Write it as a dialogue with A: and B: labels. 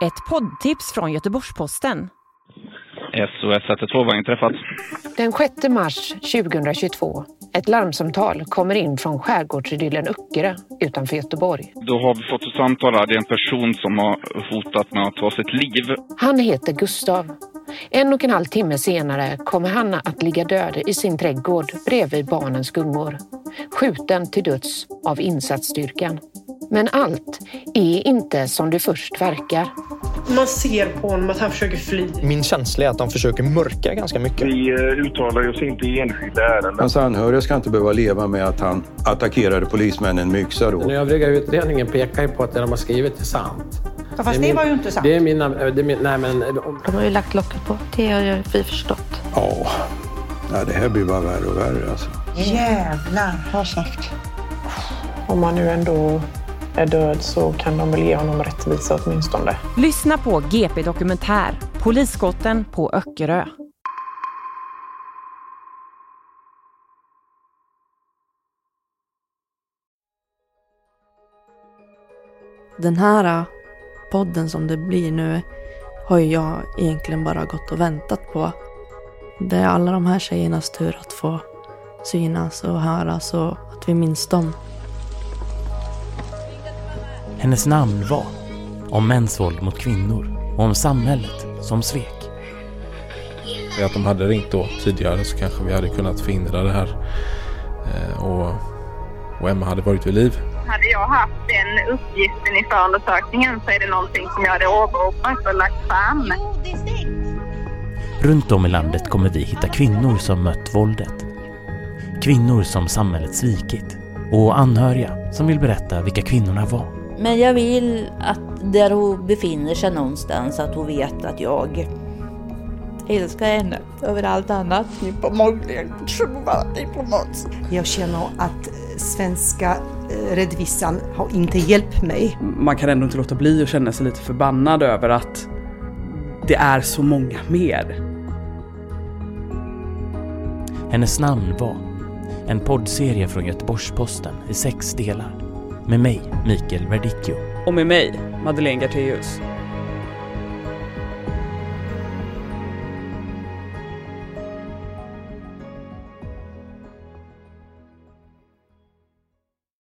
A: Ett poddtips från Göteborgs-Posten.
B: SOS 112-vagn träffat.
C: Den 6 mars 2022. Ett larmsamtal kommer in från skärgårdsidyllen Öckerö utanför Göteborg.
B: Då har vi fått ett samtal här. Det är en person som har hotat med att ta sitt liv.
C: Han heter Gustav. En och en halv timme senare kommer han att ligga död i sin trädgård bredvid barnens gungor. Skjuten till döds av insatsstyrkan. Men allt är inte som det först verkar.
D: Man ser på honom att han försöker fly.
E: Min känsla är att de försöker mörka ganska mycket.
F: Vi eh, uttalar oss inte i enskilda ärenden.
G: Hans anhöriga ska inte behöva leva med att han attackerade polismännen med yxa då.
H: Den övriga utredningen pekar ju på att det de har skrivit är sant.
I: Ja, fast det,
H: min-
I: var ju inte sant.
H: Det är mina... eh, Det är min, nej, men, om-
J: De har ju lagt locket på. Det har ju vi förstått.
G: Ja, ja det här blir bara värre och värre alltså.
I: Jävlar vad snyggt.
D: Om han nu ändå är död så kan de väl ge honom rättvisa åtminstone.
A: Lyssna på GP Dokumentär, Polisskotten på Öckerö.
J: Den här eh, podden som det blir nu har ju jag egentligen bara gått och väntat på. Det är alla de här tjejernas tur att få synas och höras och att vi minns dem.
K: Hennes namn var Om mäns våld mot kvinnor och om samhället som svek.
L: Att de hade ringt då tidigare så kanske vi hade kunnat förhindra det här. Eh, Och, och Emma hade varit vid liv.
M: Hade jag haft den uppgiften i förundersökningen så är det någonting som jag hade åberopat och lagt fram.
K: Runt om i landet kommer vi hitta kvinnor som mött våldet. Kvinnor som samhället svikit. Och anhöriga som vill berätta vilka kvinnorna var.
N: Men jag vill att där hon befinner sig någonstans, att hon vet att jag älskar henne över allt annat.
I: Jag känner att svenska redvissan har inte hjälpt mig.
O: Man kan ändå inte låta bli att känna sig lite förbannad över att det är så många mer.
K: Hennes namn var en poddserie från Göteborgs-Posten i sex delar. Med mig, Mikael Verdicchio.
O: Och med mig, Madeleine Gartéus.